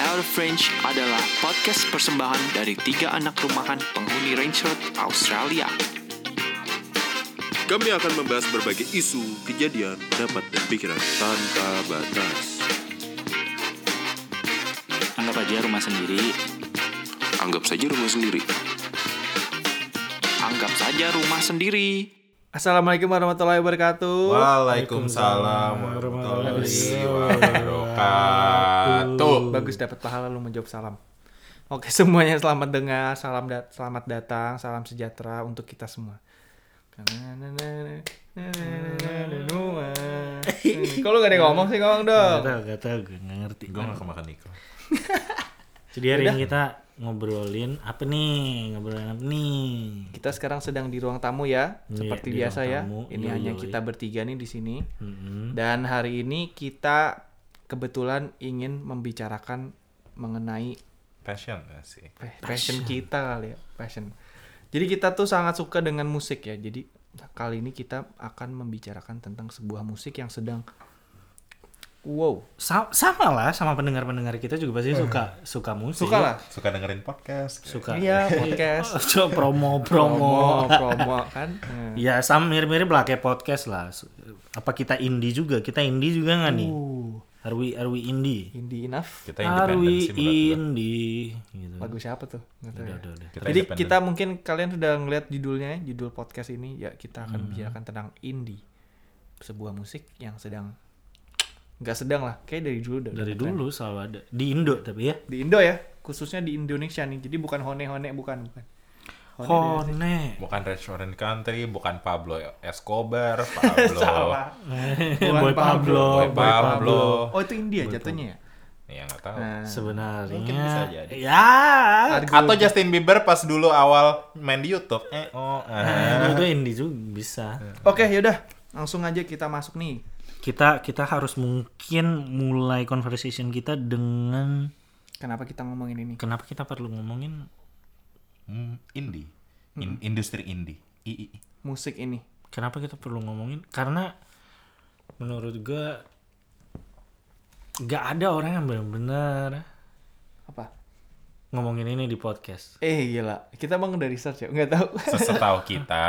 Our French adalah podcast persembahan dari tiga anak rumahan penghuni Range Road, Australia. Kami akan membahas berbagai isu, kejadian, pendapat, dan pikiran tanpa batas. Anggap aja rumah sendiri. Anggap saja rumah sendiri. Anggap saja rumah sendiri. Assalamualaikum warahmatullahi wabarakatuh. Waalaikumsalam Iya. warahmatullahi iya, wabarakatuh. Bagus dapat pahala lu menjawab salam. Oke semuanya selamat dengar, salam dat- selamat datang, salam sejahtera untuk kita semua. Kalau gak ada yang ngomong sih ngomong dong. Gak tau, gak tau, gue gak ngerti. Gue gak kemakan Niko. Jadi hari ini kita ngobrolin apa nih? Ngobrolin apa nih? Kita sekarang sedang di ruang tamu ya, Iya, seperti di biasa ruang ya. tamu. Ini Yoi, hanya yoi. kita bertiga nih di sini. Mm-mm. Dan hari ini kita kebetulan ingin membicarakan mengenai Passion gak sih? Pe- passion kita kali ya passion jadi kita tuh sangat suka dengan musik ya jadi kali ini kita akan membicarakan tentang sebuah musik yang sedang wow Sa- sama lah, sama pendengar-pendengar kita juga pasti suka suka Eh. musik. suka lah Suka dengerin podcast. kayak. Suka. Iya, podcast. Oh, promo-promo. promo kan Nah. Ya sama mirip-mirip lah kayak podcast lah. Su- Apa kita indie juga? Kita indie juga nggak nih? Uh, Are we, are we indie? indie enough Kita Are independen we sih menurut gue. indie? Gitu. lagu siapa tuh Nggak tahu Udah, ya. udah, udah. Kita jadi independen. kita mungkin kalian sudah ngeliat judulnya judul podcast ini ya kita Hmm. akan bicarakan tentang indie sebuah musik yang sedang nggak sedang lah kayak dari dulu udah- Dari udah tren. dulu selalu ada. Di Indo tapi ya. di Indo ya khususnya di Indonesia nih jadi bukan hone hone bukan bukan Hone di Indonesia. Kone. Bukan Restaurant Country, bukan Pablo Escobar, Pablo. salah Bukan Boy Pablo. Boy Pablo. oh itu India jatuhnya ya Ya nggak tahu. nah, Sebenarnya. Mungkin bisa jadi. Ya. argu- Atau Justin Bieber pas dulu awal main di YouTube. Eh, oh, eh. Nah, itu indie juga bisa. oke yaudah langsung aja kita masuk nih Kita kita harus mungkin mulai conversation kita dengan kenapa kita ngomongin ini kenapa kita perlu ngomongin Hmm, indie. In- industri indie. I, I- I. musik ini kenapa kita perlu ngomongin karena menurut gua nggak ada orang yang benar-benar apa ngomongin ini di podcast. eh gila kita emang dari search ya nggak tahu Setahu kita.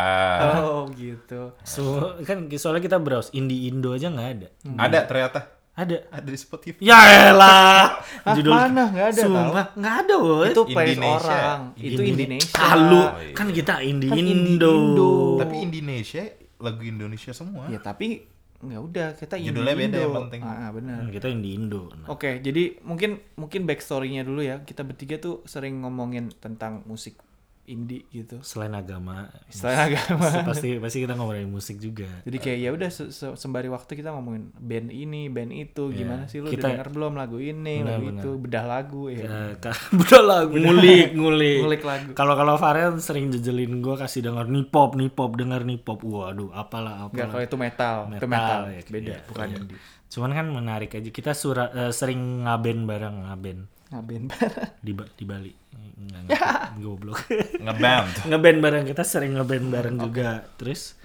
oh gitu So, kan soalnya kita browse indie Indo aja nggak ada. Ada ternyata. Iya. Ada. Ada di Spotify. Ya elah. Ah, mana? Nggak ada, tau. Sumpah, nggak ada, woy. itu playlist Indonesia. Ah, orang itu Indonesia Oh, Halu. Kan kita indie Kan indie Indo. Indo. Tapi Indonesia lagu Indonesia semua. ya tapi nggak udah kita Judulnya beda yang penting. ah, ah, benar Nah, Kita indie Indo. Nah, Oke, jadi mungkin mungkin backstory-nya dulu ya. Kita bertiga tuh sering ngomongin tentang musik indie gitu. Selain agama, Selain agama. pasti pasti kita ngomongin musik juga. Jadi kayak ya udah se- se- sembari waktu kita ngomongin band ini, band itu, gimana sih lu Iya. kita- udah denger belum lagu ini, lagu itu, bedah lagu ya. Eh, ka- Udah lah, ngulik, ngulik. Ngulik lagu. Kalau kalau Farel sering jejelin gue kasih denger nipop, nipop, denger nipop. Waduh, apalah, Enggak kalau apalah. itu metal, itu metal, ya, beda, iya, bukan iya. indie. Cuman kan menarik aja. Kita sura- eh, sering ngaben bareng ngaben Nah, band di Ba- di Bali. Enggak ngerti, goblok. Ngeband. ngeband bareng kita sering ngeband bareng juga terus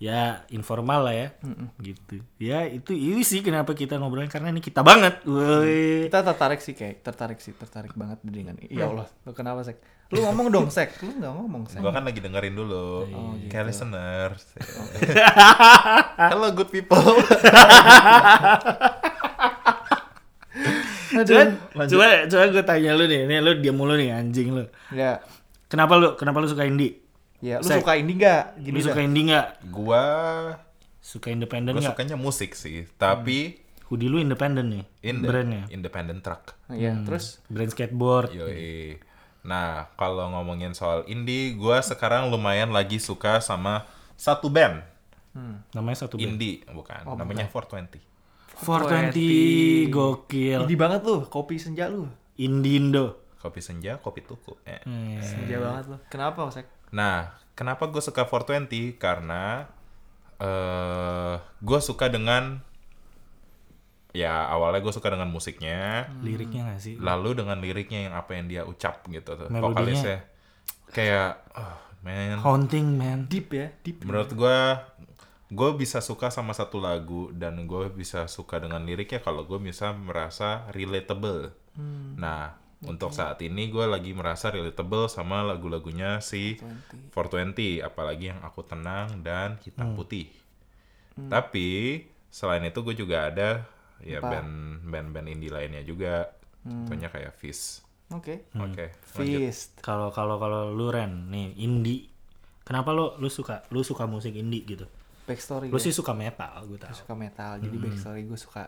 ya informal lah ya gitu ya itu ini sih kenapa kita ngobrolin karena ini kita banget woi kita tertarik sih kayak tertarik sih, tertarik banget dengan ya Nah. Allah, lu kenapa Sek? Lu ngomong dong Sek, lu nggak ngomong Sek. Gua kan lagi dengerin dulu. Kayak listener. Hello good people. coba coba coba gue tanya lu nih nih lu diam mulu nih anjing lu Ya, kenapa lu kenapa lu suka indie ya lu Iya. Sek. suka indie nggak? Gini lu dah. suka indie nggak gua suka independen gua nggak sukanya musik sih, tapi hoodie lu independen nih in brandnya independent truck. Ya, Hmm. terus brand skateboard Iya. Yoi. Nah, kalau ngomongin soal indie, gua sekarang lumayan lagi suka sama satu band. namanya satu brand Indie, bukan. namanya 420. 420 gokil Indie banget lu, kopi senja lu. indie indo Kopi senja, kopi tuku. Eh. Iya. Senja banget lu. Kenapa, Sek? Nah, kenapa gue suka 420? Karena eh gue suka dengan ya awalnya gue suka dengan musiknya, Hmm. liriknya nggak sih lalu dengan liriknya yang apa yang dia ucap gitu tuh. Melodinya. Vokalisnya kayak oh, man. haunting man Deep ya, deep. Menurut gue gue bisa suka sama satu lagu dan gue bisa suka dengan liriknya kalau gue bisa merasa relatable. Nah, untuk saat ini gue lagi merasa relatable sama lagu-lagunya si 420, apalagi yang aku tenang dan hitam putih. Tapi selain itu gue juga ada ya band band-band indie lainnya juga. Contohnya kayak Fizz. Oke. Oke. lanjut. Fist. Kalau kalau kalau lu Ren nih indie. Kenapa lu lu suka lu suka musik indie gitu? Backstory. Lu gue sih suka metal gue tahu. suka metal. Jadi backstory gue suka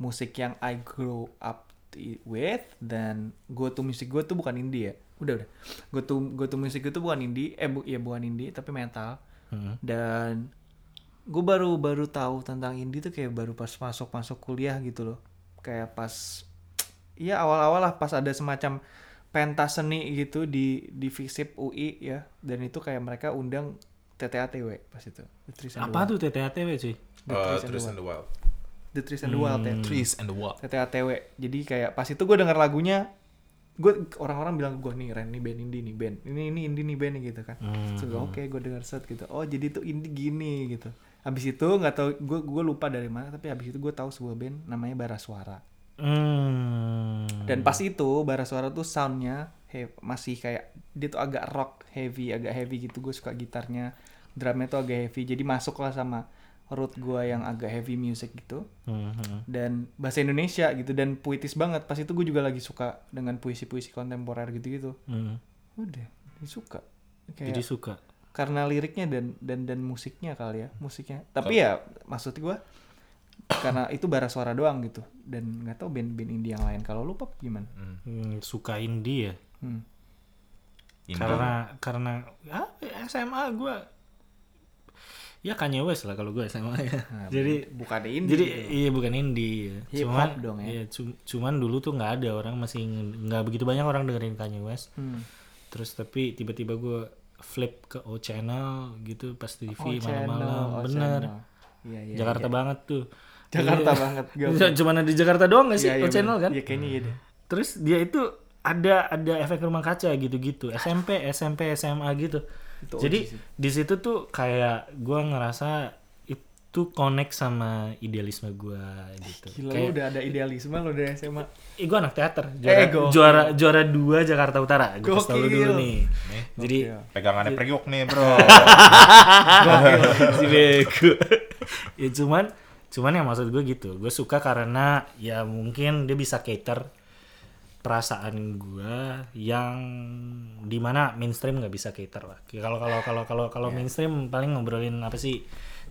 musik yang I grow up t- with dan gue tuh musik gue tuh bukan indie ya. Udah udah. Gue tuh gue tuh musik gue tuh bukan indie. Eh bu, ya bukan indie tapi metal. Dan gue baru baru tahu tentang indie tuh kayak baru pas masuk masuk kuliah gitu loh. Kayak pas Iya awal-awal lah pas ada semacam pentas seni gitu di di Visip UI ya dan itu kayak mereka undang TTATW pas itu The Trees and Apa tuh Oh, TTATW sih? Eh, Trees and Trees and the Wild. Hmm. Wild. The Trees and the Wild ya Trees and the Wild. TTATW jadi kayak pas itu gue denger lagunya gue orang-orang bilang gue nih Ren nih band indie nih band ini ini indie nih band gitu kan Terus gua, oke gue denger set gitu oh jadi tuh indie gini gitu habis itu nggak tahu gue gue lupa dari mana tapi habis itu gue tahu sebuah band namanya Barasuara Hmm. Dan pas itu bara suara tuh soundnya he- masih kayak dia tuh agak rock heavy, agak heavy gitu. Gue suka gitarnya, drumnya tuh agak heavy. Jadi masuk lah sama root gue yang agak heavy music gitu. Hmm, hmm. Dan bahasa Indonesia gitu dan puitis banget. Pas itu gue juga lagi suka dengan puisi-puisi kontemporer gitu-gitu. Hmm. Udah, jadi suka. Kayak Jadi suka. karena liriknya dan dan dan musiknya kali ya musiknya tapi ya maksud gua karena itu bara suara doang gitu dan nggak tahu band-band indie yang lain kalau lu pop gimana Hmm, suka indie ya. Hmm. Indie. Karena karena ah, SMA gue ya Kanye West lah kalau gue SMA ya. Jadi Nah, bukan indie Jadi gitu. iya bukan indie, ya. Hip cuman hop dong ya. iya, cu- cuman dulu tuh nggak ada orang masih nge- nggak begitu banyak orang dengerin Kanye West. Hmm. Terus tapi tiba-tiba gue flip ke O Channel gitu pas Oh, di TV channel, malam-malam, oh, bener. channel. Iya, iya, Jakarta iya. banget tuh. Jakarta Iya. banget gua. Cuma- Cuman ada di Jakarta doang nggak sih Iya, iya, O Channel bener. kan? Iya kayaknya iya deh. Terus dia itu ada ada efek rumah kaca gitu-gitu SMP SMP SMA gitu. Itu OG Jadi sih. di situ tuh kayak gua ngerasa itu connect sama idealisme gua gitu. Ah, Gila lu kayak udah ada idealisme lu dari SMA. Eh, gue anak teater juara Eh, gokil. juara juara dua Jakarta Utara gue kasih tau lu Gokil. Eh, dulu nih jadi Pegangannya periuk nih, Bro. si bego ya cuman cuman yang maksud gue gitu gue suka karena ya mungkin dia bisa cater perasaan gue yang dimana mainstream nggak bisa cater lah Kayak kalau kalau kalau kalau kalau mainstream paling ngobrolin apa sih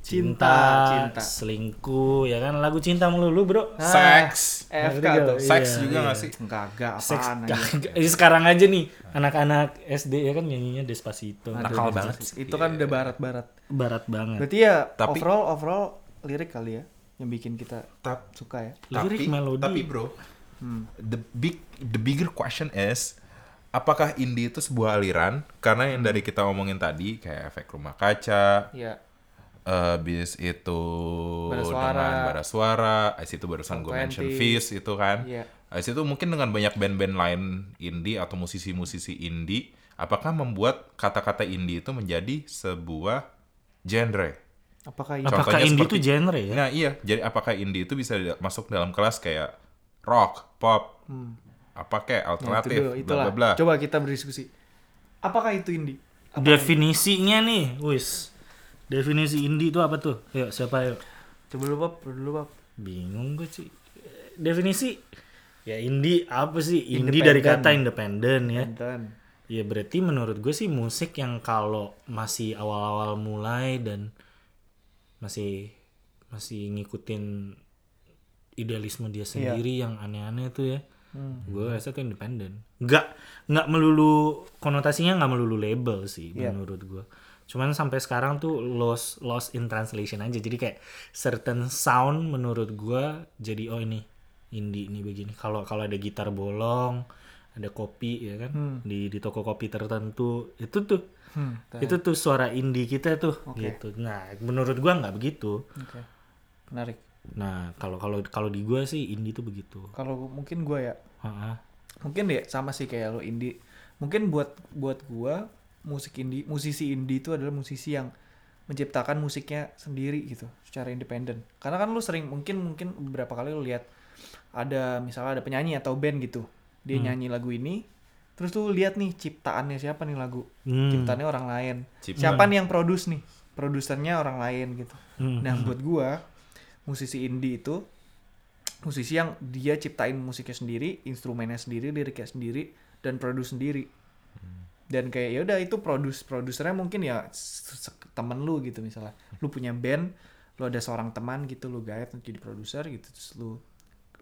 Cinta, cinta. selingkuh ya kan lagu cinta melulu bro Seks. FK ngerti tuh. gak? Seks juga nggak sih? Kagak Iya. Seks, apaan aja. gak- gak- sekarang aja nih anak-anak SD ya kan nyanyinya Despacito Nakal banget. Itu kan udah barat-barat. barat banget Berarti ya iya. Tapi- overall overall lirik kali ya yang bikin kita Tap- suka ya. Lirik tapi, melodi. Tapi bro, Hmm. the big the bigger question is apakah indie itu sebuah aliran? Karena yang dari kita omongin tadi kayak efek rumah kaca, Iya. habis itu Bara suara. dengan bara suara, habis itu barusan gue 420. mention Fizz itu kan. Iya. Habis itu mungkin dengan banyak band-band lain indie atau musisi-musisi indie, apakah membuat kata-kata indie itu menjadi sebuah genre? Apakah ini? Apa? apakah Contohnya indie seperti- itu genre ya Nah iya, jadi apakah indie itu bisa da- masuk dalam kelas kayak rock, pop, apa Nah, kayak itu alternatif, dulu, bla itulah. bla bla. Coba kita berdiskusi. Apakah itu indie? definisinya nih wis definisi indie itu apa tuh yuk siapa yuk Coba lu pop, dulu pop. bingung gue sih definisi ya indie apa sih indie dari kata independen ya Bentar. Ya berarti menurut gue sih musik yang kalau masih awal-awal mulai dan masih masih ngikutin idealisme dia sendiri yang aneh-aneh tuh ya. Gue rasa tuh independen. Nggak nggak melulu konotasinya nggak melulu label sih menurut gue. Cuman sampai sekarang tuh lost lost in translation aja. Jadi kayak certain sound menurut gue jadi oh ini indie ini begini. Kalau kalau ada gitar bolong, ada kopi ya kan di di toko kopi tertentu itu tuh Hmm. itu tuh suara indie kita tuh gitu nah menurut gua nggak begitu Oke. Menarik. nah kalau kalau kalau di gua sih indie tuh begitu Kalau mungkin gue ya, Ha-ha. mungkin ya sama sih kayak lo indie. Mungkin buat buat gue musik indie, musisi indie itu adalah musisi yang menciptakan musiknya sendiri gitu secara independen karena kan lu sering mungkin mungkin beberapa kali lu lihat ada misalnya ada penyanyi atau band gitu dia Hmm. nyanyi lagu ini terus lu lihat nih ciptaannya siapa nih lagu Hmm. ciptaannya orang lain Ciptaan. siapa nih yang produce nih produsernya orang lain gitu Hmm. nah buat gua musisi indie itu musisi yang dia ciptain musiknya sendiri instrumennya sendiri liriknya sendiri dan produce sendiri dan kayak ya udah itu produce produsernya mungkin ya se- se- temen lu gitu misalnya lu punya band lu ada seorang teman gitu lu gayet jadi produser gitu terus lu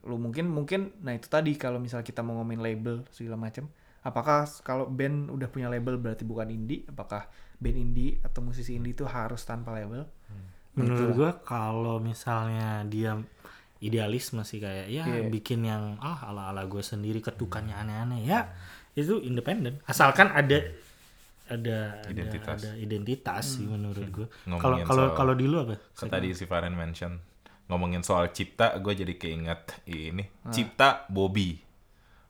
lu mungkin mungkin nah itu tadi kalau misal kita mau ngomongin label segala macam apakah s- kalau band udah punya label berarti bukan indie apakah band indie atau musisi indie itu harus tanpa label menurut Gitu lah. gua kalau misalnya dia idealis masih kayak ya Iya. bikin yang ah ala ala gue sendiri ketukannya aneh-aneh ya itu independen asalkan ada ada ada- Identitas. Hmm. ada, identitas sih Hmm. menurut gua Ngomongin kalau kalau soal- kalau di lu apa Kan tadi si Faren mention ngomongin soal cipta, gue jadi keinget ini cipta Bobby.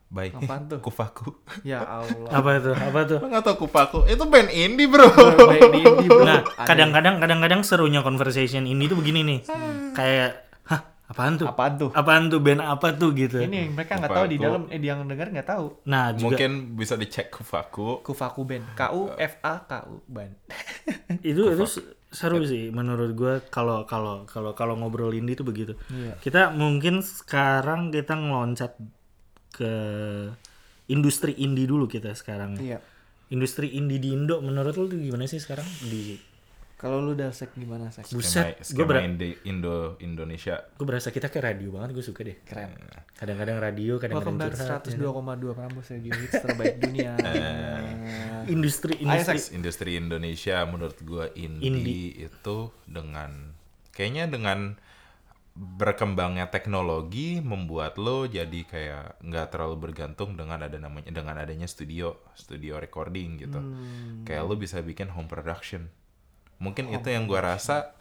Baik. Apaan tuh? Kufaku. ya Allah apa itu apa tuh Lo nggak tau Kufaku? Itu band indie bro. Baik di indie, bro. nah Aneh. kadang-kadang kadang-kadang serunya conversation ini tuh begini nih kayak hah apaan tuh apaan tuh apaan tuh band apa tuh gitu ini yang mereka nggak Apa tahu di itu? dalam eh yang dengar nggak tahu nah juga Mungkin bisa dicek Kufaku. Kufaku Band K U F A K U Band itu itu seru sih menurut gua kalau kalau kalau kalau ngobrol indie tuh begitu Iya. kita mungkin sekarang kita ngeloncat ke industri indie dulu kita sekarang iya industri indie di Indo menurut lu tuh gimana sih sekarang di kalau lu udah sek gimana sek buset gue Skema- skema Indi- Indo Indonesia. berasa kita kayak radio banget gue suka deh keren kadang-kadang radio Iya. Welcome kadang-kadang back curhat 102,2 Prambors Radio Hits terbaik dunia Eh. industri Ayo industri seks Industri Indonesia menurut gue indie, Indie. itu dengan kayaknya dengan berkembangnya teknologi membuat lo jadi kayak nggak terlalu bergantung dengan ada namanya dengan adanya studio studio recording gitu Hmm. kayak lo bisa bikin home production mungkin itu yang gue rasa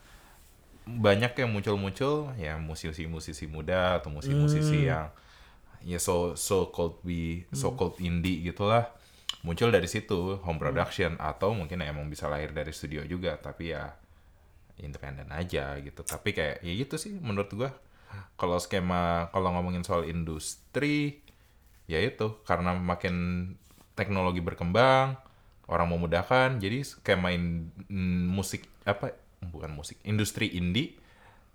banyak yang muncul-muncul ya musisi-musisi muda atau Hmm. musisi-musisi yang ya so so called we so called indie gitulah muncul dari situ home production atau mungkin ya emang bisa lahir dari studio juga tapi ya independen aja gitu tapi kayak ya gitu sih menurut gua kalau skema kalau ngomongin soal industri ya itu karena makin teknologi berkembang orang memudahkan jadi skema in- mm, musik apa bukan musik industri indie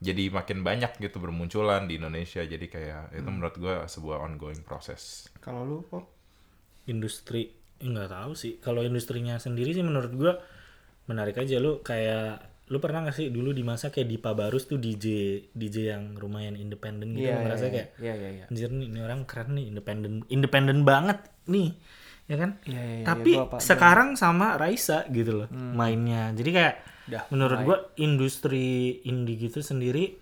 jadi makin banyak gitu bermunculan di Indonesia jadi kayak itu menurut gua sebuah ongoing proses kalau lu kok industri eh, nggak tahu sih kalau industrinya sendiri sih menurut gua menarik aja lu kayak lu pernah nggak sih dulu di masa kayak Dipa Barus tuh DJ DJ yang lumayan independen gitu Iya, merasa iya, kayak iya, iya, iya. anjir nih ini orang keren nih independen independen banget nih ya kan Iya, iya, iya, tapi gua apa- sekarang sama Raisa gitu loh mainnya jadi kayak Dah, menurut gua industri indie gitu sendiri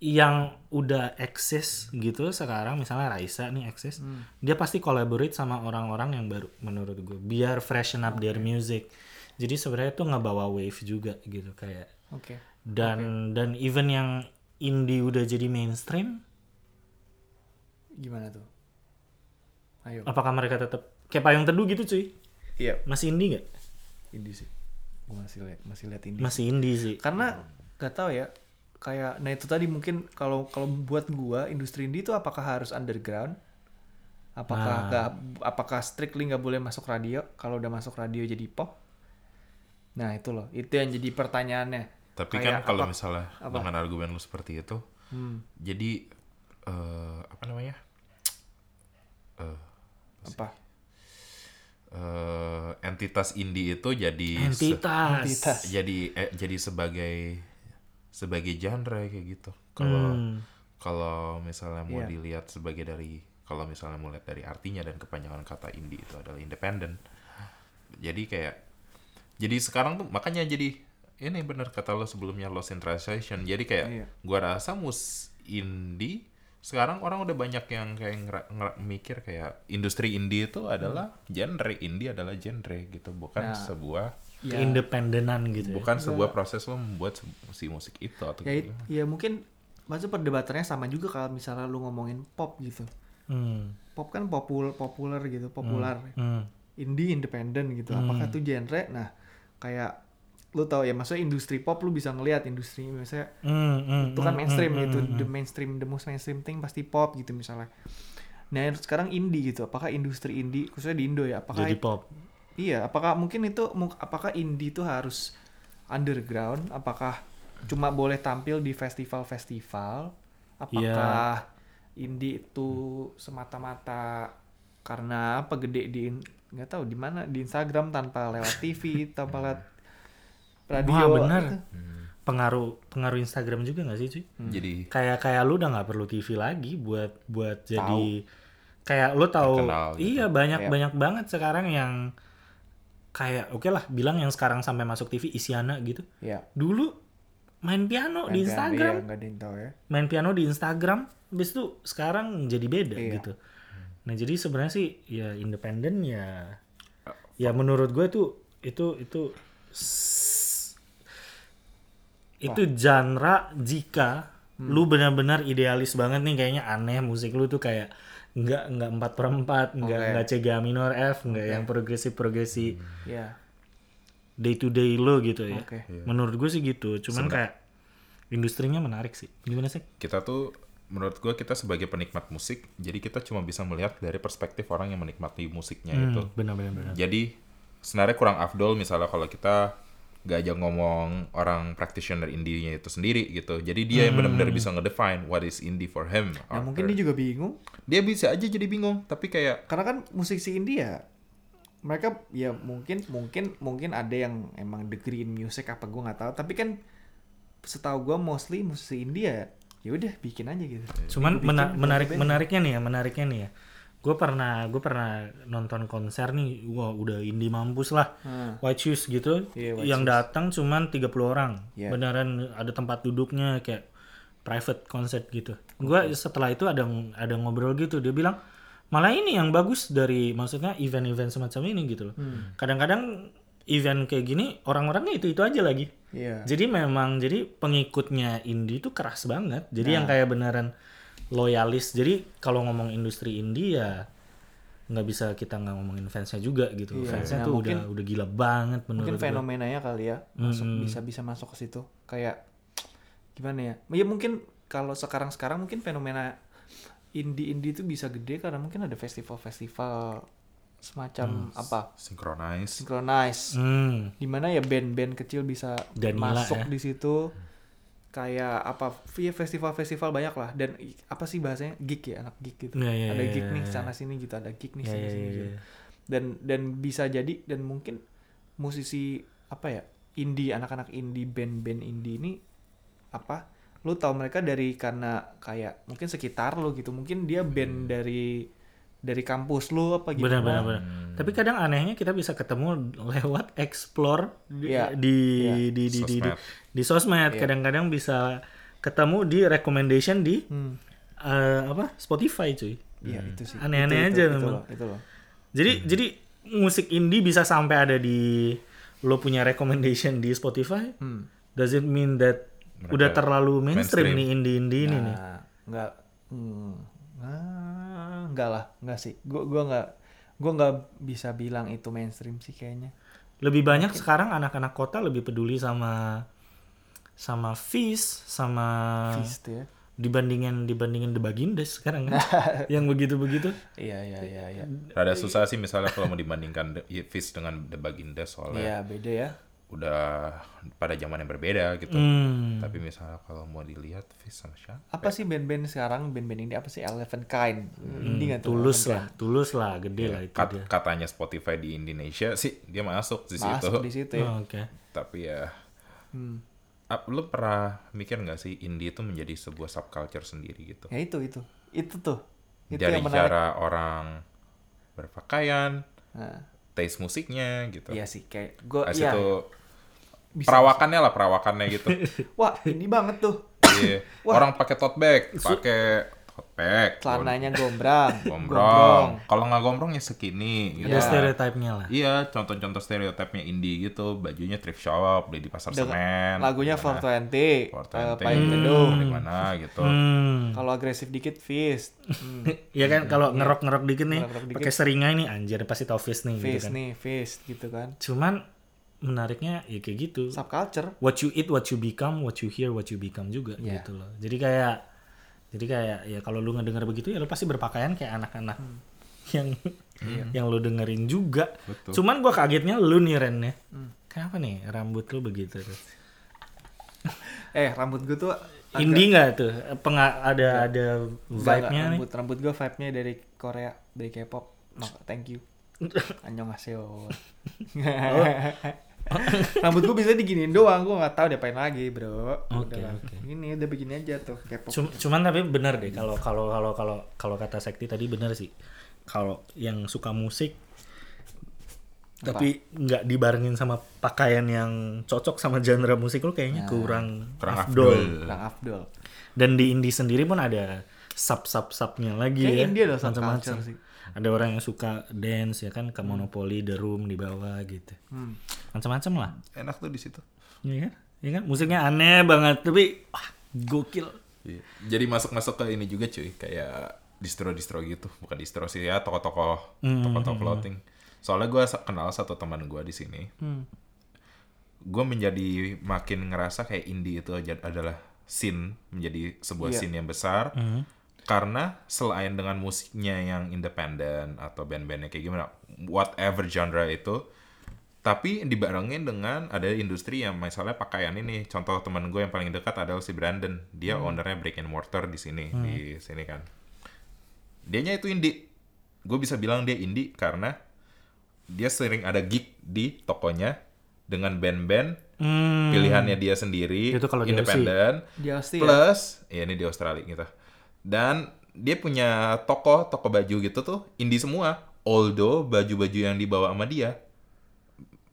yang udah eksis gitu sekarang misalnya Raisa nih eksis Hmm. dia pasti collaborate sama orang-orang yang baru menurut gue biar freshen up their music jadi sebenarnya tuh ngebawa wave juga gitu kayak oke dan dan even yang indie udah jadi mainstream gimana tuh ayo apakah mereka tetap kayak payung teduh gitu cuy iya masih indie nggak indie sih Gua masih lihat masih lihat indie masih indie sih karena nggak tahu ya kayak nah itu tadi mungkin kalau kalau buat gua industri indie itu apakah harus underground apakah nggak- apakah strictly nggak boleh masuk radio kalau udah masuk radio jadi pop nah itu loh itu yang jadi pertanyaannya Tapi Kayak kan kalau apa- misalnya apa? Hmm. dengan argumen lu seperti itu, jadi eh, apa namanya? apa Eh, entitas indie itu jadi se- entitas Entitas. jadi eh, jadi sebagai sebagai genre kayak gitu. Kalau kalau misalnya mau Hmm. Iya. dilihat sebagai dari kalau misalnya mau lihat dari artinya dan kepanjangan kata indie itu adalah independen. Jadi kayak jadi sekarang tuh makanya jadi ini benar kata lo sebelumnya lost in translation. Jadi kayak Iya. gua rasa mus indie sekarang orang udah banyak yang kayak ngera- ngera- mikir kayak industri indie itu adalah genre indie adalah genre gitu bukan Hmm. Nah. sebuah Ya. keindependenan gitu ya. bukan sebuah proses lo membuat se- si musik itu atau Iya. gitu. ya, gimana. it- ya mungkin maksud perdebatannya sama juga kalau misalnya lu ngomongin pop gitu Hmm, pop kan popul populer gitu populer hmm. indie independen gitu apakah itu genre nah kayak lu tahu ya maksudnya industri pop lu bisa ngelihat industri misalnya Mm, mm, itu kan mm, mainstream mm, itu mm, the mainstream the most mainstream thing pasti pop gitu misalnya nah yang sekarang indie gitu apakah industri indie khususnya di Indo ya mm. apakah jadi pop iya apakah mungkin itu mung- apakah indie itu harus underground apakah cuma boleh tampil di festival-festival Iya. apakah indie itu semata-mata karena apa gede di in- nggak tahu di mana di Instagram tanpa lewat TV tanpa lewat radio Wah benar. gitu. Pengaruh pengaruh Instagram juga nggak sih cuy? Hmm. Jadi Kayak kayak lu udah nggak perlu TV lagi buat buat jadi kayak lu tahu Terkenal gitu. iya banyak Iya. banyak banget sekarang yang kayak oke lah bilang yang sekarang sampai masuk TV Isyana gitu. Iya. Dulu main Main piano di piano, Instagram, iya, nggak ada yang tahu ya main piano di Instagram, habis itu sekarang jadi beda Iya. gitu. Nah jadi sebenarnya sih ya independen ya, Oh, ya menurut gue tuh itu itu s- itu genre jika Hmm. lu benar-benar idealis banget nih kayaknya aneh musik lu tuh kayak nggak nggak empat per empat nggak Oke. nggak C G A minor F nggak yang progresif progresi Iya. day to day lu gitu ya. Oke. Menurut gue sih gitu, cuman kayak industrinya menarik sih. Gimana sih? kita tuh menurut gue kita sebagai penikmat musik jadi kita cuma bisa melihat dari perspektif orang yang menikmati musiknya Hmm, itu Benar-benar. jadi sebenarnya kurang afdol misalnya kalau kita gak aja ngomong orang practitioner indie-nya itu sendiri gitu jadi dia yang benar-benar bisa ngedefine what is indie for him Nah, or Hmm. mungkin her. dia juga bingung dia bisa aja jadi bingung tapi kayak karena kan musisi India mereka ya mungkin mungkin mungkin ada yang emang degree in music apa gue nggak tahu tapi kan setahu gue mostly musisi India ya udah bikin aja gitu Cuman Bikin, mena- bikin menarik band. menariknya nih ya, menariknya nih ya. Gue pernah gue pernah nonton konser nih, wah udah indie mampus lah. Hmm. White Shoes gitu, Iya, White yang Shoes. datang cuman 30 orang. Iya. Beneran ada tempat duduknya kayak private concert gitu. Gua setelah itu ada ada ngobrol gitu, dia bilang malah ini yang bagus dari maksudnya event-event semacam ini gitu loh. Hmm. Kadang-kadang event kayak gini orang-orangnya itu-itu aja lagi. iya Jadi memang jadi pengikutnya indie itu keras banget. Jadi Nah. yang kayak beneran loyalis. Jadi kalau ngomong industri indie ya nggak bisa kita nggak ngomongin fansnya juga gitu. Iya. fansnya Nah, tuh mungkin- udah udah gila banget menurut Hmm. mungkin gue. fenomenanya kali ya masuk bisa bisa masuk ke situ kayak gimana ya ya mungkin kalau sekarang sekarang mungkin fenomena indie indie itu bisa gede karena mungkin ada festival-festival semacam apa synchronize synchronize Hmm, dimana ya band-band kecil bisa Danila, masuk ya. di situ kayak apa ya festival-festival banyak lah dan i- apa sih bahasanya gig ya anak gig gitu Iya, iya, ada iya, gig iya, nih iya. sana sini gitu ada gig nih Iya, sana iya, sini iya, gitu iya. dan dan bisa jadi dan mungkin musisi apa ya indie anak-anak indie band-band indie ini apa lu tahu mereka dari karena kayak mungkin sekitar lu gitu mungkin dia band dari dari kampus lu apa gitu Hmm. benar benar benar. Tapi kadang anehnya kita bisa ketemu lewat explore di Iya. di, di, di, di, di Sosmed. di sosmed. Kadang-kadang bisa ketemu di recommendation di Hmm. eh, apa Spotify cuy. Iya, itu sih Aneh-aneh Itu- itu- aja itu memang. loh, itu loh. Jadi Hmm. jadi musik indie bisa sampai ada di lo punya recommendation di Spotify. Hmm. Does it mean that Mereka udah terlalu mainstream, mainstream. nih indie-indie ini nih? Nah, nggak hmm, ah, nggak lah nggak sih gua gua nggak gua nggak bisa bilang itu mainstream sih kayaknya Lebih banyak sekarang anak-anak kota lebih peduli sama sama Fizz, sama Fist ya dibandingin dibandingin The Bagindas sekarang kan. Yang begitu-begitu. iya iya iya iya rada susah sih misalnya kalau mau dibandingkan The- Fizz dengan The Baginda soalnya iya beda ya udah pada zaman yang berbeda gitu Hmm. tapi misalnya kalau mau dilihat Fizz sama siapa apa sih band-band sekarang band-band ini apa sih Eleven Kind ini nggak tuh Iya, Tulus lah, tulus lah, gede Nah, lah itu Kat- dia. katanya Spotify di Indonesia sih dia masuk di situ masuk di situ Hmm. ya Oh, Oke. tapi ya Ap- lu pernah mikir nggak sih indie itu menjadi sebuah subculture sendiri gitu ya itu itu itu tuh itu dari yang menarik cara orang berpakaian nah, taste musiknya gitu iya sih kayak gua Habis iya itu bisa. perawakannya lah perawakannya gitu wah ini banget tuh Iya. orang pakai tote bag pakai tote bag celananya gombrang gombrong kalau nggak gombrong ya segini gitu Ada stereotipnya lah. Iya, contoh-contoh stereotipnya indie gitu, bajunya thrift shop, beli di pasar Dengan- semen. lagunya gimana, 420 eh, 420, Payung Teduh di mana gitu. Hmm. Kalau agresif dikit fist. Hmm, Iya kan kalau ngerok-ngerok dikit nih Ngerok-ngerok dikit. pakai seringai nih anjir pasti tau fist nih gitu fist kan. nih, fist gitu kan. Cuman menariknya ya kayak gitu subculture what you eat what you become what you hear what you become juga Iya. gitu loh jadi kayak jadi kayak ya kalau lu ngedenger begitu ya lu pasti berpakaian kayak anak-anak Hmm. yang Iya. yang lu dengerin juga cuman gua kagetnya lu nih Ren ya Hmm. kenapa nih rambut lu begitu tuh eh rambut gue tuh indie nggak tuh Penga- ada ada vibe-nya nih rambut rambut gue vibe nya dari Korea dari K-pop Mak- thank you Annyeonghaseyo Oh. rambut gue bisa diginiin doang gue nggak tahu diapain lagi bro Oke, Udah lah. ini udah begini aja tuh K-pop Cum- cuman tapi benar deh kalau kalau kalau kalau kalau kata sekti tadi benar sih kalau yang suka musik tapi nggak dibarengin sama pakaian yang cocok sama genre musik lu Ya. kayaknya kurang, Kurang afdol. afdol. kurang afdol dan di indie sendiri pun ada sub sub subnya lagi Kayak ya India ada macam-macam. subculture sih. Hmm. ada orang yang suka dance ya kan ke monopoli the room di bawah gitu macam-macam lah Enak tuh di situ. Iya kan? Iya kan? Musiknya aneh banget tapi wah, gokil. Iya. Jadi masuk-masuk ke ini juga cuy, kayak distro-distro gitu, bukan distro sih ya, toko-toko, toko-toko floating. Soalnya gue kenal satu teman gue di sini. Gue menjadi makin ngerasa kayak indie itu aja- adalah scene menjadi sebuah scene yang besar. Karena selain dengan musiknya yang independen atau band-bandnya kayak gimana, whatever genre itu, tapi dibarengin dengan ada industri yang misalnya pakaian ini contoh teman gue yang paling dekat adalah si Brandon dia Hmm. ownernya Break and Mortar di sini di sini kan dianya itu indie gue bisa bilang dia indie karena dia sering ada gig di tokonya dengan band-band Hmm. pilihannya dia sendiri Itu kalau di independen Di Aussie ya? plus ya ini di Australia gitu dan dia punya toko toko baju gitu tuh indie semua although baju-baju yang dibawa sama dia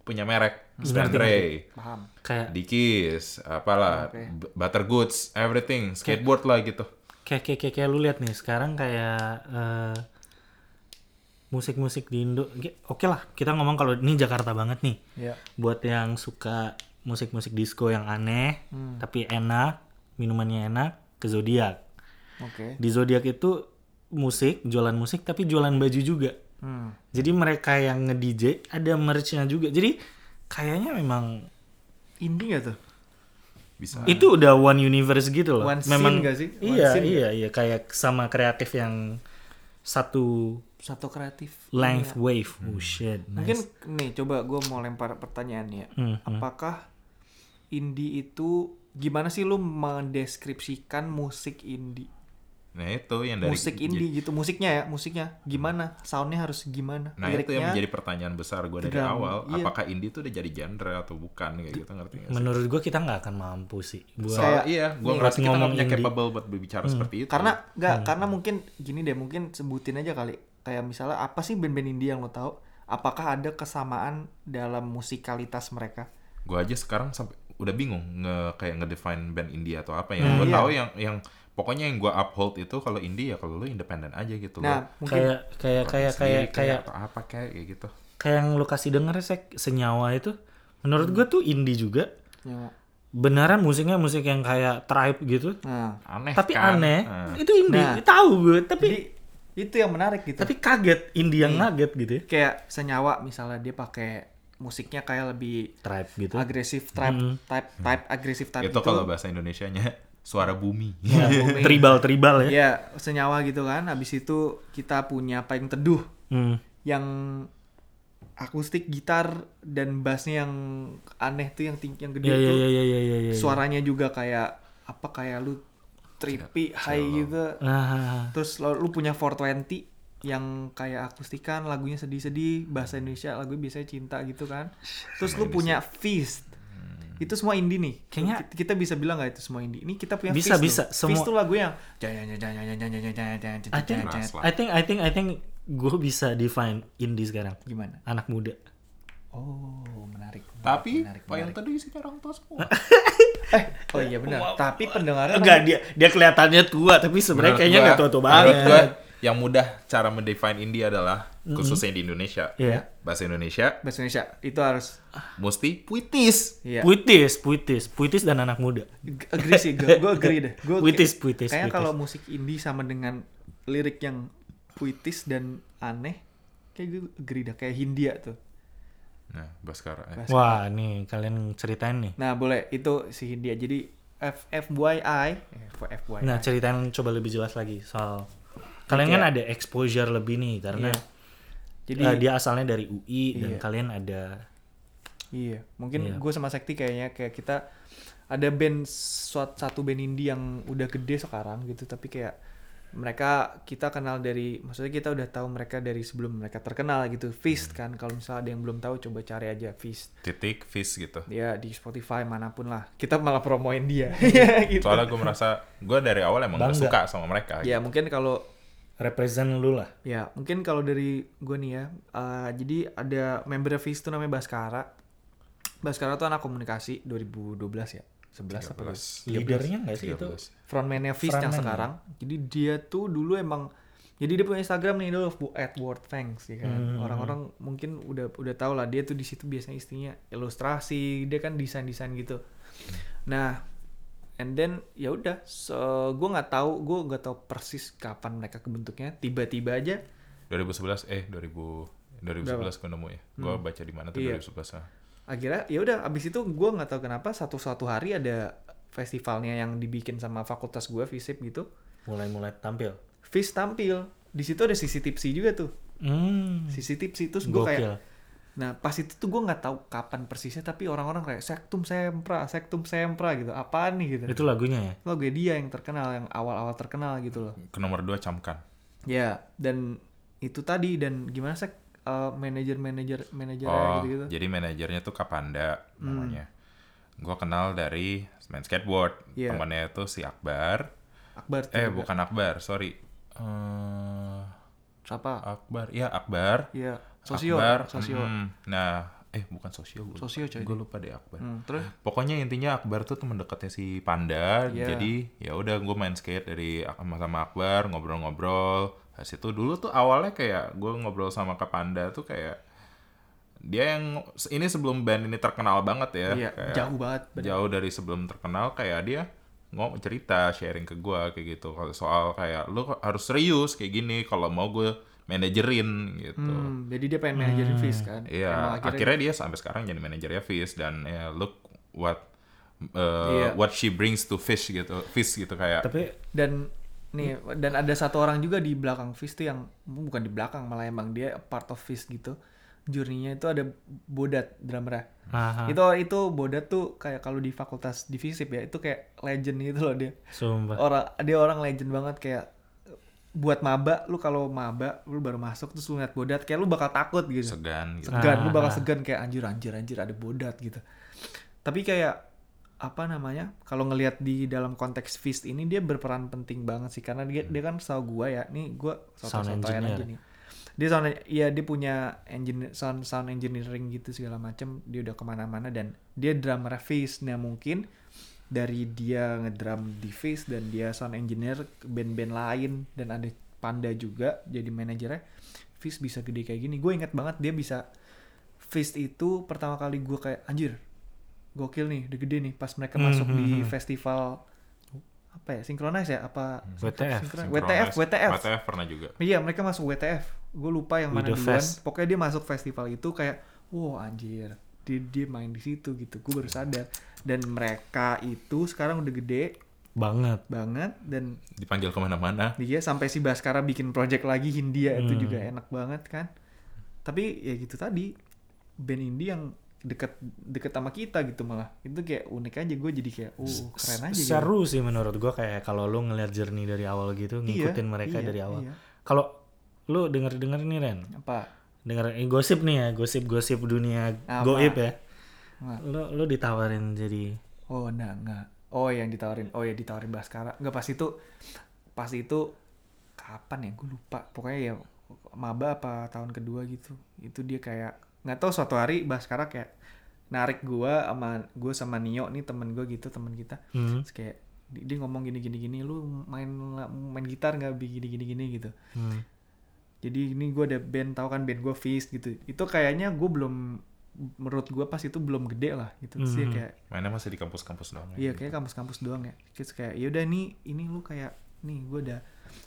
punya merek Stanley, paham Kayak Dickies, apalah, Oke. b- Butter Goods, everything, skateboard lah gitu. kayak kayak kayak, kayak lu lihat nih sekarang kayak eh, musik-musik di Indo Oke- oke lah kita ngomong kalau ini Jakarta banget nih ya buat yang suka musik-musik disco yang aneh tapi enak minumannya enak ke zodiak oke di zodiak itu musik jualan musik tapi jualan baju juga Hmm. jadi mereka yang nge DJ ada merchnya juga jadi kayaknya memang indie gak tuh Bisa. itu udah one universe gitu loh. One scene Memang nggak sih? One iya scene iya iya kayak sama kreatif yang satu satu kreatif length wave. Hmm. Oh shit. Iya. Mungkin Nice. Hmm, nih coba gue mau lempar pertanyaan ya. Apakah indie itu gimana sih lu mendeskripsikan musik indie? Nah itu yang dari musik indie gitu, musiknya ya, musiknya gimana? Soundnya harus gimana? Nah itu yang menjadi pertanyaan besar gue dari drum, awal. iya. Apakah indie itu udah jadi genre atau bukan kayak gitu ngerti nggak sih? Menurut gua kita nggak akan mampu sih buat Soalnya iya, gue buat ngerasa kita nggak ngomong punya indie. capable buat berbicara seperti itu. karena nggak Hmm. karena mungkin gini deh, mungkin sebutin aja kali. Kayak misalnya apa sih band-band indie yang lo tahu? Apakah ada kesamaan dalam musikalitas mereka? gue aja sekarang sampai udah bingung nge kayak ngedefine band indie atau apa ya. gue iya. tahu yang yang pokoknya yang gue uphold itu kalau indie ya kalau lu independen aja gitu Nah, lo. mungkin kayak kayak kayak kayak kayak atau apa kayak kayak gitu. kayak yang lu kasih denger sek senyawa itu Hmm. menurut gua tuh indie juga. Ya. Beneran musiknya musik yang kayak tribe gitu. Nah, Aneh Tapi kan? aneh. Nah. Itu indie. Nah. Tahu gue, tapi jadi Hmm. itu yang menarik gitu. tapi kaget indie yang kaget gitu ya. kayak senyawa misalnya dia pakai musiknya kayak lebih Tribe gitu. Hmm. agresif type type type agresif type gitu. itu kalau bahasa Indonesianya suara bumi. Tribal-tribal ya. ya senyawa gitu kan habis itu kita punya apa yang teduh Hmm. yang akustik gitar dan bassnya yang aneh tuh yang ting- yang gede Iya iya tuh iya iya iya iya. iya. suaranya juga kayak apa kayak lu trippy Iya, high gitu Ah, terus lo- lu punya 420 yang kayak akustikan lagunya sedih-sedih bahasa Indonesia lagu biasanya cinta gitu kan terus lu punya feast itu semua indie nih Hmm. Kayaknya- Ki- kita bisa bilang nggak itu semua indie ini kita punya feast Bisa, bisa. tuh. Semua- feast tuh lagu yang ada Keras lah. I think I think I think gue bisa define indie sekarang. gimana Anak muda. oh menarik Tapi menarik, Pak yang menarik. tadi isinya orang tua semua. eh oh iya benar tapi pendengarnya Enggak dia dia kelihatannya tua tapi sebenarnya Menurut kayaknya gua- nggak tua-tua menurut gua, banget. yang mudah cara mendefine indie adalah khususnya di Indonesia. Iya. Bahasa Indonesia bahasa Indonesia itu harus mesti puitis. iya Puitis, puitis, puitis dan anak muda. Ag- agree sih gue gue agree deh gue Puitis, puitis, kayaknya puitis. kalau musik indie sama dengan lirik yang puitis dan aneh kayak gue agree dah kayak Hindia tuh Nah, Baskara. Eh. Wah, nih kalian ceritain nih. Nah boleh itu si dia jadi F FYI, eh, FYI. Nah, ceritain coba lebih jelas lagi soal kalian kan ada exposure lebih nih karena Iya. Jadi eh, nah. dia asalnya dari UI dan kalian ada iya mungkin gue sama Sekti kayaknya kayak kita ada band suat- satu band indie yang udah gede sekarang gitu tapi kayak mereka kita kenal dari maksudnya kita udah tahu mereka dari sebelum mereka terkenal gitu Feast kan kalau misalnya ada yang belum tahu coba cari aja Feast Titik fish gitu. ya di Spotify manapun lah kita malah promoin dia gitu. Soalnya gue merasa gue dari awal emang gak Bangga. suka sama mereka. ya mungkin kalau represent lu lah. Ya, mungkin kalau dari gue nih ya, eh, jadi ada member Fizz tuh namanya Baskara. Baskara tuh anak komunikasi 2012 ya, 11 apa 12. Leadernya nggak sih itu? Frontman-nya Fizz yang Frontman. sekarang. Jadi dia tuh dulu emang jadi dia punya Instagram nih dulu Bu Edward Fangs ya kan. Orang-orang mungkin udah udah tau lah dia tuh di situ biasanya istrinya ilustrasi, dia kan desain-desain gitu. Nah, and then ya udah, so, gue nggak tahu, gue nggak tahu persis kapan mereka kebentuknya. Tiba-tiba aja 2011 eh 2000 2011 gue nemu ya. Gue Hmm. baca di mana tuh Iya. 2011. ah. akhirnya ya udah abis itu gue nggak tahu kenapa satu suatu hari ada festivalnya yang dibikin sama fakultas gue FISIP gitu Mulai-mulai tampil. Fis tampil di situ ada sisi tipsi juga tuh Hmm. sisi tipsi terus gue Gokil. kayak nah pas itu tuh gue nggak tahu kapan persisnya tapi orang-orang kayak sektum sempra sektum sempra gitu apaan nih gitu Itu lagunya ya. lo gue dia yang terkenal yang awal-awal terkenal gitu loh Ke nomor 2 camkan. ya dan itu tadi dan gimana Eh, sih manajer manajer manajer Oh, gitu gitu jadi manajernya tuh Kapanda Hmm. namanya. Gue kenal dari main skateboard. Iya. Temannya itu si Akbar. Akbar tuh Eh juga. bukan Akbar, sorry. Eh, siapa Akbar, ya Akbar. ya sosio Akbar. sosio mm, nah, eh bukan sosio gue. Sosio, coy. Gue lupa deh Akbar. Hmm, terus Pokoknya intinya Akbar tuh teman dekatnya si Panda. Iya. Jadi ya udah gue main skate dari sama sama Akbar ngobrol-ngobrol. Habis itu dulu tuh awalnya kayak gue ngobrol sama Kak Panda tuh kayak dia yang ini sebelum band ini terkenal banget ya. Iya, kayak jauh banget. bener. jauh dari sebelum terkenal kayak dia ngomong cerita sharing ke gua kayak gitu Kalau soal kayak lu harus serius kayak gini kalau mau gue manajerin gitu. Hmm, jadi dia pengen manajerin Fizz kan? Iya, Emang akhirnya, dia sampai sekarang jadi manajernya Fish dan ya look what Iya. uh, what she brings to Fish gitu, Fish gitu kayak. Tapi Dan nih dan ada satu orang juga di belakang Fizz tuh yang bukan di belakang malah emang dia part of Fizz gitu. Jurninya itu ada Bodat drummer. Aha. Itu itu Bodat tuh kayak kalau di fakultas di Fisip ya itu kayak legend gitu loh dia. sumpah. Orang dia orang legend banget kayak buat maba lu kalau maba lu baru masuk terus lu ngeliat Bodat kayak lu bakal takut gitu. segan gitu. segan lu bakal segan kayak anjir anjir anjir ada bodat gitu tapi kayak apa namanya kalau ngelihat di dalam konteks fist ini dia berperan penting banget sih karena dia dia kan setahu gua ya nih gua Sound soto-sotoan aja engineer. nih dia sound iya dia punya engineer, sound sound engineering gitu segala macem dia udah kemana-mana dan dia drummer fist nah mungkin dari dia ngedrum di fist dan dia sound engineer ke band-band lain dan ada panda juga jadi manajernya fist bisa gede kayak gini gue ingat banget dia bisa fist itu pertama kali gue kayak anjir gokil nih udah gede nih pas mereka masuk di Mm-hmm. festival apa ya sinkronize ya apa Hmm. WTF. Synchronize- WTF WTF WTF pernah juga. Iya mereka masuk WTF. Gue lupa yang mana Widow duluan. Fest. Pokoknya dia masuk festival itu kayak, wow anjir, dia, dia main di situ gitu. Gue baru sadar. Dan mereka itu sekarang udah gede Banget. banget dan Dipanggil kemana-mana. dia sampai si Baskara bikin project lagi Hindia itu Hmm. juga enak banget kan. Tapi ya gitu tadi band indie yang deket deket sama kita gitu malah itu kayak unik aja gue jadi kayak uh keren aja gitu. Seru sih menurut gua kayak kalau lu ngeliat journey dari awal gitu, ngikutin Iya, mereka iya, dari awal. iya. Ya. Kalau lu denger-denger nih Ren, gitu." apa denger eh, gosip nih ya, gosip-gosip dunia Apa? goib ya. Apa? Lu lu ditawarin jadi Oh, enggak, enggak. Oh, yang ditawarin. Oh ya, ditawarin Baskara. Enggak, pas itu pas itu kapan ya? Gue lupa. Pokoknya ya maba apa tahun kedua gitu. Itu dia kayak nggak tahu suatu hari Baskara kayak narik gua sama gue sama Nio nih temen gue gitu temen kita Hmm. Terus kayak di- dia ngomong gini gini gini lu main la- main gitar nggak Bi? gini gini gini gitu hmm, jadi ini gue ada band tahu kan band gue Fist gitu itu kayaknya gue belum menurut gue pas itu belum gede lah gitu terus dia Mhm. kayak Mainnya masih di kampus-kampus doang. Nah, ya. Iya gitu. kayak kampus-kampus doang ya. Terus kayak yaudah nih ini lu kayak nih gue ada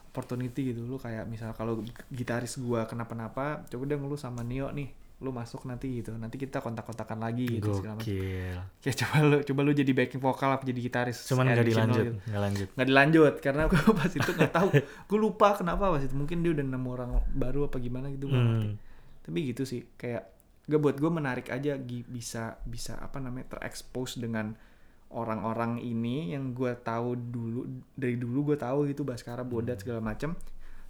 opportunity gitu lu kayak misal kalau gitaris gua kenapa-napa coba deh lu sama Nio nih lu masuk nanti gitu nanti kita kontak-kontakan lagi gitu segala macam Gokil. kayak coba lu coba lu jadi backing vokal apa jadi gitaris Cuman nggak additional dilanjut, gitu. nggak lanjut. nggak dilanjut karena gue pas itu nggak tahu gue lupa kenapa pas itu mungkin dia udah nemu orang baru apa gimana gitu gua nggak ngerti. Hmm. tapi gitu sih kayak gak buat gue menarik aja gi- bisa bisa apa namanya terekspos dengan orang-orang ini yang gue tahu dulu dari dulu gue tahu gitu Baskara Bodat Hmm. segala macam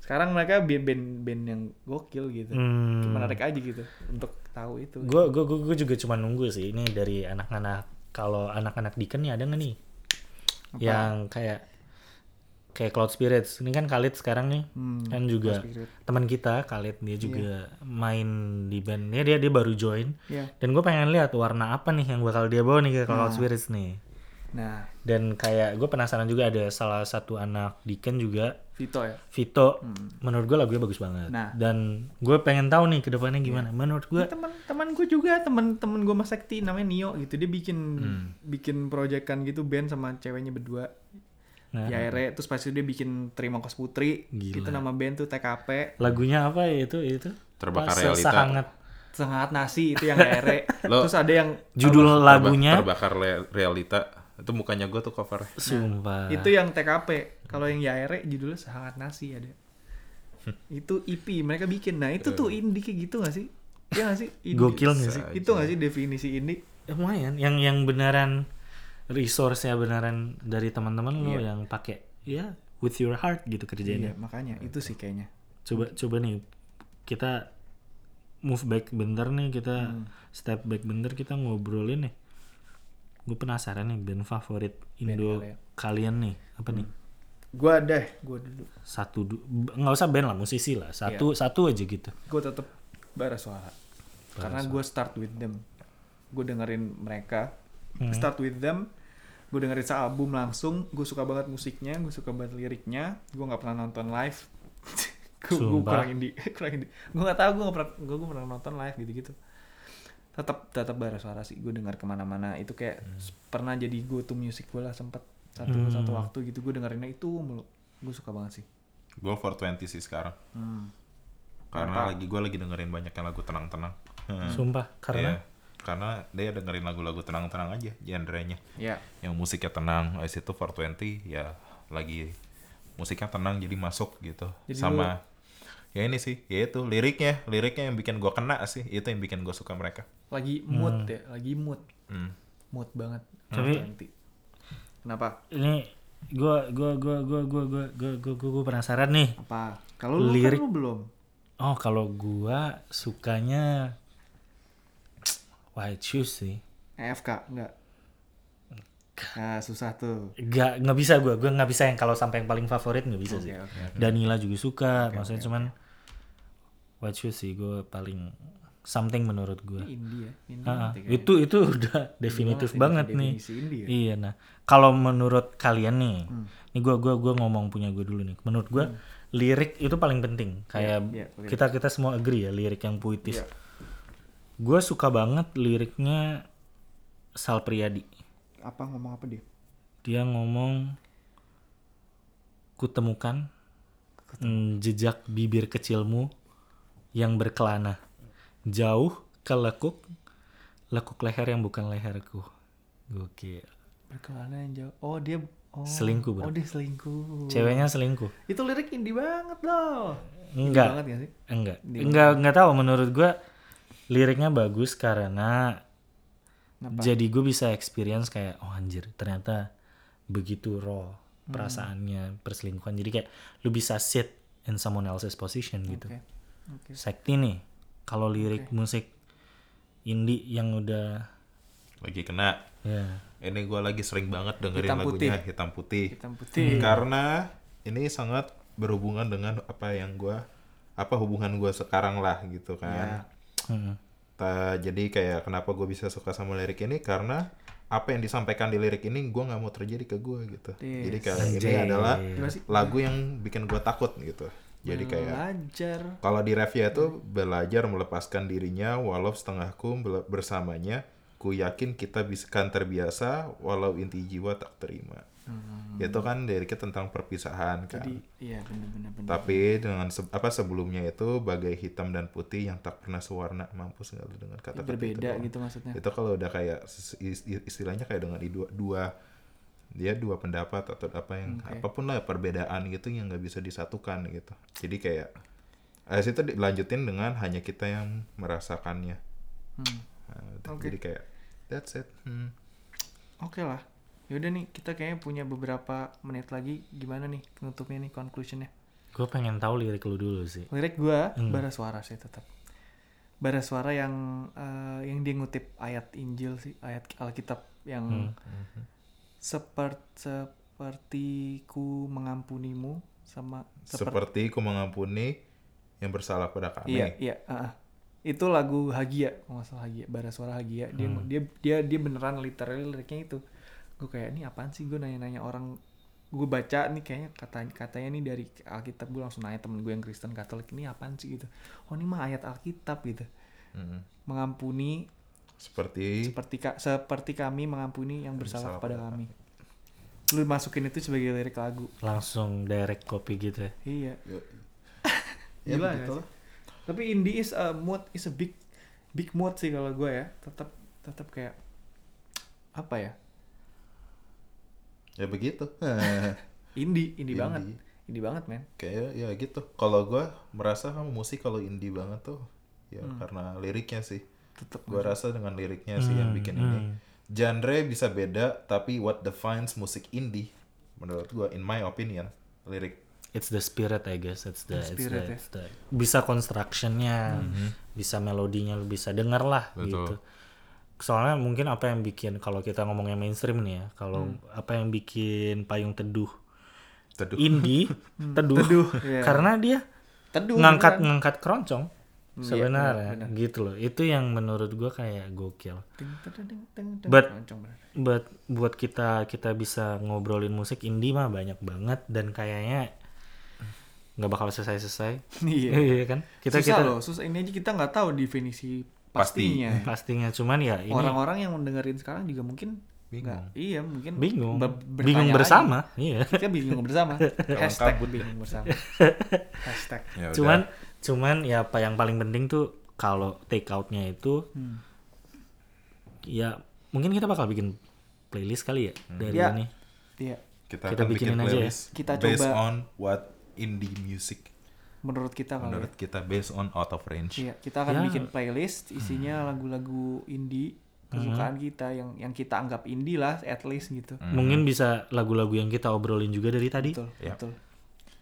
sekarang mereka bi- band-band yang gokil gitu Hmm. menarik aja gitu untuk tahu itu Gue gue gue juga cuma nunggu sih ini dari anak-anak kalau anak-anak Deacon nih ada nggak nih yang kayak kayak Cloud Spirits ini kan Khalid sekarang nih Hmm, kan juga Cloud Spirit. teman kita Khalid dia juga main di band dia dia dia baru join Iya. dan gue pengen lihat warna apa nih yang bakal dia bawa nih ke Cloud Spirits nih nah dan kayak gue penasaran juga ada salah satu anak Deacon juga Vito ya Vito menurut gue lagunya bagus banget Nah. Iya. dan gue pengen tahu nih kedepannya gimana menurut gue teman teman gue juga teman teman gue mas Sekti namanya Nio gitu dia bikin Hmm. bikin proyekan gitu band sama ceweknya berdua Nah. ya akhirnya terus pas itu dia bikin Terima Kos Putri Gila. itu nama band tuh TKP lagunya apa ya itu itu Terbakar Pas Realita. sehangat Sengat Nasi itu yang akhirnya Lo- terus ada yang judul Terba- lagunya terbakar le- realita itu mukanya gue tuh cover sumpah Ah. itu yang TKP kalau yang Yaere judulnya Sengat Nasi ada itu EP mereka bikin nah itu tuh indie kayak gitu gak sih Iya gak sih Indie. Eh. Gokil nggak sih? itu gak sih definisi indie lumayan yang yang beneran resource ya beneran dari teman-teman lo yang pakai ya with your heart gitu Iya kerjanya makanya itu sih kayaknya coba coba nih kita move back bentar nih kita step back bentar kita ngobrolin nih gue penasaran nih band favorit Indo kalian. kalian nih apa nih gue deh gue dulu satu du- b- nggak usah band lah musisi lah satu satu aja gitu Hmm. gue tetap bara suara karena gue start with them gue dengerin mereka start with them gue dengerin sealbum langsung gue suka banget musiknya gue suka banget liriknya gue nggak pernah nonton live gue Sumpah. kurang indie kurang indie gue nggak tahu gue nggak pernah gue pernah nonton live gitu gitu tetap tetap bara suara sih gue dengar kemana-mana itu kayak s- pernah jadi go to music gue lah sempet satu satu waktu gitu gue dengerinnya itu mulu gue suka banget sih Hmm. gue 420 sih sekarang karena lagi gue lagi dengerin banyak yang lagu tenang-tenang Hmm. sumpah karena Iya. karena dia dengerin lagu-lagu tenang-tenang aja genrenya ya yang musiknya tenang Nah, abis itu 420 ya lagi musiknya tenang jadi masuk gitu sama ya ini sih ya itu liriknya liriknya yang bikin gue kena sih itu yang bikin gue suka mereka lagi mood ya lagi mood Hmm. mood banget Tapi- nanti kenapa ini gua gua gua gua gua gua gua gua, gua, gua penasaran nih apa kalau lu Lirik. kan lu belum oh kalau gua sukanya white shoes sih AFK enggak nah, susah tuh nggak nggak bisa gua gua nggak bisa yang kalau sampai yang paling favorit nggak bisa sih oke, Danila juga suka maksudnya cuman white shoes sih gua paling something menurut gua indie ya indie Ah, ah. nanti kayak- itu itu udah definitif banget banget sih nih. definisi indie ya. Iya nah, kalau menurut kalian nih, Hmm. nih gua gua gua ngomong punya gue dulu nih. Menurut gua lirik itu paling penting. Kayak iya, lirik. Iya. kita kita semua agree ya lirik yang puitis. Gua suka banget liriknya Sal Priadi. apa ngomong apa dia Dia ngomong kutemukan mm, jejak bibir kecilmu yang berkelana jauh ke lekuk lekuk leher yang bukan leherku gokil berkelana yang jauh oh dia oh Selingkuh, bro. oh dia selingkuh ceweknya selingkuh itu lirik indie banget loh Enggak. banget ya? gak sih enggak enggak enggak tahu menurut gua liriknya bagus karena jadi gue bisa experience kayak oh anjir ternyata begitu raw Hmm. perasaannya perselingkuhan jadi kayak lu bisa sit in someone else's position gitu Oke. sekti nih kalau lirik musik indie yang udah lagi kena ya ini gue lagi sering banget dengerin Hitam lagunya putih. hitam putih Hmm. hitam putih karena ini sangat berhubungan dengan apa yang gua apa hubungan gua sekarang lah Ya. gitu kan Heeh. Ta- jadi kayak kenapa gue bisa suka sama lirik ini karena apa yang disampaikan di lirik ini gua nggak mau terjadi ke gua gitu Yes. jadi kayak ini Anjay. adalah Gimana sih? lagu yang bikin gua takut gitu jadi kayak belajar kalau di revia itu belajar melepaskan dirinya walau setengahku bel- bersamanya ku yakin kita bisa kan terbiasa walau inti jiwa tak terima itu kan liriknya tentang perpisahan kan Hmm. Jadi iya benar-benar benar. tapi dengan se- apa sebelumnya itu bagai hitam dan putih yang tak pernah sewarna mampus nggak lu dengan kata-kata itu Berbeda doang. gitu maksudnya. itu kalau udah kayak is- is- istilahnya kayak dengan i- dua, dua dia dua pendapat atau apa yang Oke. apapun lah perbedaan gitu yang nggak bisa disatukan gitu jadi kayak eh situ dilanjutin dengan hanya kita yang merasakannya Hmm. Nah, Oke. jadi kayak that's it Hmm. Oke lah. Yaudah nih kita kayaknya punya beberapa menit lagi gimana nih penutupnya nih conclusionnya. Gue pengen tahu lirik lu dulu sih. Lirik gua bara suara sih tetap. Bara suara yang eh, yang dia ngutip ayat Injil sih, ayat Alkitab yang sepert- seperti ku mengampunimu sama seperti seperti ku mengampuni yang bersalah pada kami Iya, iya, ah, ah. Itu lagu Hagia, kalau nggak salah Hagia, Bara Suara Hagia. Dia dia dia dia beneran literally liriknya itu. Gue kayak ini apaan sih gue nanya-nanya orang gue baca nih kayaknya kata katanya nih dari Alkitab gue langsung nanya temen gue yang Kristen Katolik ini apaan sih gitu. Oh ini mah ayat Alkitab gitu. Hmm. Mengampuni seperti seperti ka- seperti kami mengampuni yang bersalah kepada kami. Lu masukin itu sebagai lirik lagu. Langsung direct copy gitu ya. Iya. Ya, Gila begitu nggak lah. sih? Tapi indie is a mood, is a big big mood sih kalau gue ya. Tetap tetap kayak apa ya? ya begitu Indie, indie, Indie. banget. Indie banget, men. kayak ya gitu kalau gua merasa kan musik kalau indie banget tuh ya Hmm. karena liriknya sih Tetap gua rasa dengan liriknya sih Hmm, yang bikin ini genre bisa beda tapi what defines musik indie menurut gua in my opinion lirik It's the spirit I guess. It's the, it's spirit, Mm-hmm. the- ya. it's the- bisa constructionnya, bisa melodinya lu bisa denger lah gitu. Soalnya mungkin apa yang bikin kalau kita ngomongnya mainstream nih ya, kalau Hmm. apa yang bikin payung teduh teduh indie teduh, iya. karena dia Teduh. ngangkat beneran. ngangkat keroncong Iya, sebenarnya benar, gitu loh. Itu yang menurut gua kayak gokil. Ting, teng, teng, teng, teng, teng. But- Keroncong beneran. buat buat kita kita bisa ngobrolin musik indie mah banyak banget dan kayaknya nggak bakal selesai selesai Iya. iya kan kita susah kita loh, susah ini aja kita nggak tahu definisi Pasti. pastinya. pastinya cuman ya ini Orang-orang yang mendengarin sekarang juga mungkin nggak- iya mungkin bingung ber- bertanya bingung lagi. Ya bersama iya Kita bingung bersama. Hashtag kabut. bingung bersama. Hashtag. Ya udah. cuman cuman ya apa yang paling penting tuh kalau take outnya itu Hmm. ya mungkin kita bakal bikin playlist kali ya dari Ya. ini Iya. kita, kita akan bikin bikinin aja ya. playlist Kita based coba. on what indie music Menurut kita kalau menurut kita based on out of range Iya, kita akan Ya. Hmm. bikin playlist isinya lagu-lagu indie kesukaan kita yang yang kita anggap indie lah at least gitu. mungkin bisa lagu-lagu yang kita obrolin juga dari tadi Betul, Iya. betul.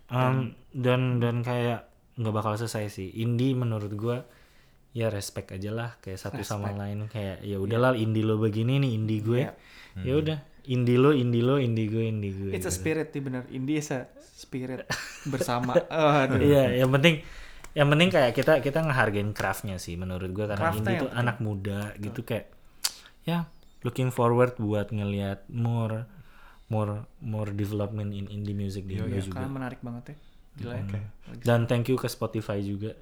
Um, dan dan kayak nggak bakal selesai sih. Indie menurut gua ya respect aja lah kayak satu sama lain kayak ya udahlah indie lo begini nih indie gue. Iya. Ya udah indie lo indie lo indie gue indie gue. It's a gitu. spirit nih bener. Indie is a spirit bersama. Aduh. Iya, yang penting yang penting kayak kita kita ngehargain craftnya sih menurut gua karena Craft-nya indie yang tuh anak muda gitu kayak ya looking forward buat ngelihat more more more development in indie music di Indo iya, Iya juga. Hmm. Karena menarik banget ya. Gila ya. Dan thank you ke Spotify juga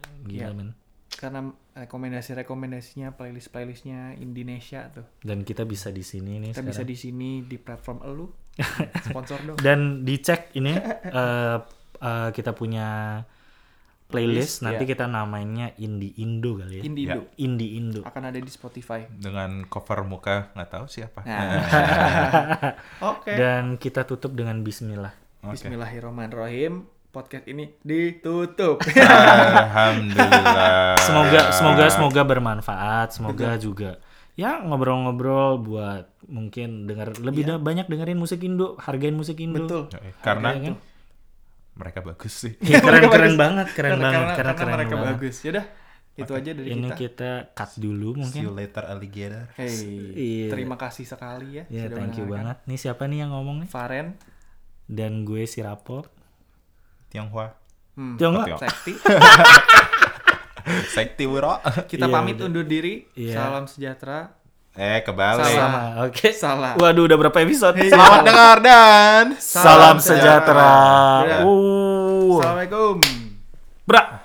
Iya. gila men. Karena rekomendasi-rekomendasinya, playlist-playlistnya Indonesia tuh. dan kita bisa di sini nih Kita bisa Iya, sekarang. Iya. di sini di platform elu. Sponsor dong. dan dicek ini eh, eh, kita punya playlist nanti iya. kita namanya Indie Indo kali ya Indie Indo. Indie Indo akan ada di Spotify. dengan cover muka nggak tahu siapa Nah. Oke. dan kita tutup dengan Bismillah Bismillahirrahmanirrahim. Podcast ini ditutup. Alhamdulillah. semoga semoga semoga bermanfaat semoga juga ya ngobrol-ngobrol buat mungkin dengar lebih da- banyak dengerin musik Indo hargain musik Indo Iya. Betul. Yoi, Karena Iya kan? mereka bagus sih. Iya, keren Mereka keren bagus. banget keren karena, banget karena, karena, karena keren mereka banget. bagus. Yaudah, itu aja dari ini kita. kita cut dulu See mungkin you later alligator. Hey, Iya. terima kasih sekali ya. ya sudah thank you mendengarkan. banget nih siapa nih yang ngomong nih Faren, dan gue si Rapop Tianghua. hmm, Tiongkok Tiongkok. Sekti. Sekti Wiro. Kita Iya, pamit udah. undur diri. Iya. Salam sejahtera. eh kebalik. Salah. sama oke Salah. waduh udah berapa episode Selamat dengar dan salam sejahtera Udah. uh Assalamualaikum. bra